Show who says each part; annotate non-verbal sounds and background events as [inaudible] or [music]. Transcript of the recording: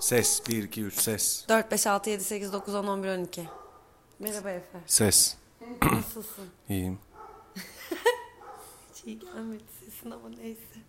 Speaker 1: Ses 1 2 3 ses.
Speaker 2: 4, 5, 6, 7, 8, 9, 10, 11, 12. Merhaba [clears throat] Efe.
Speaker 1: Ses.
Speaker 2: Nasılsın?
Speaker 1: İyiyim.
Speaker 2: Hiç iyi gelmedi sesin ama neyse.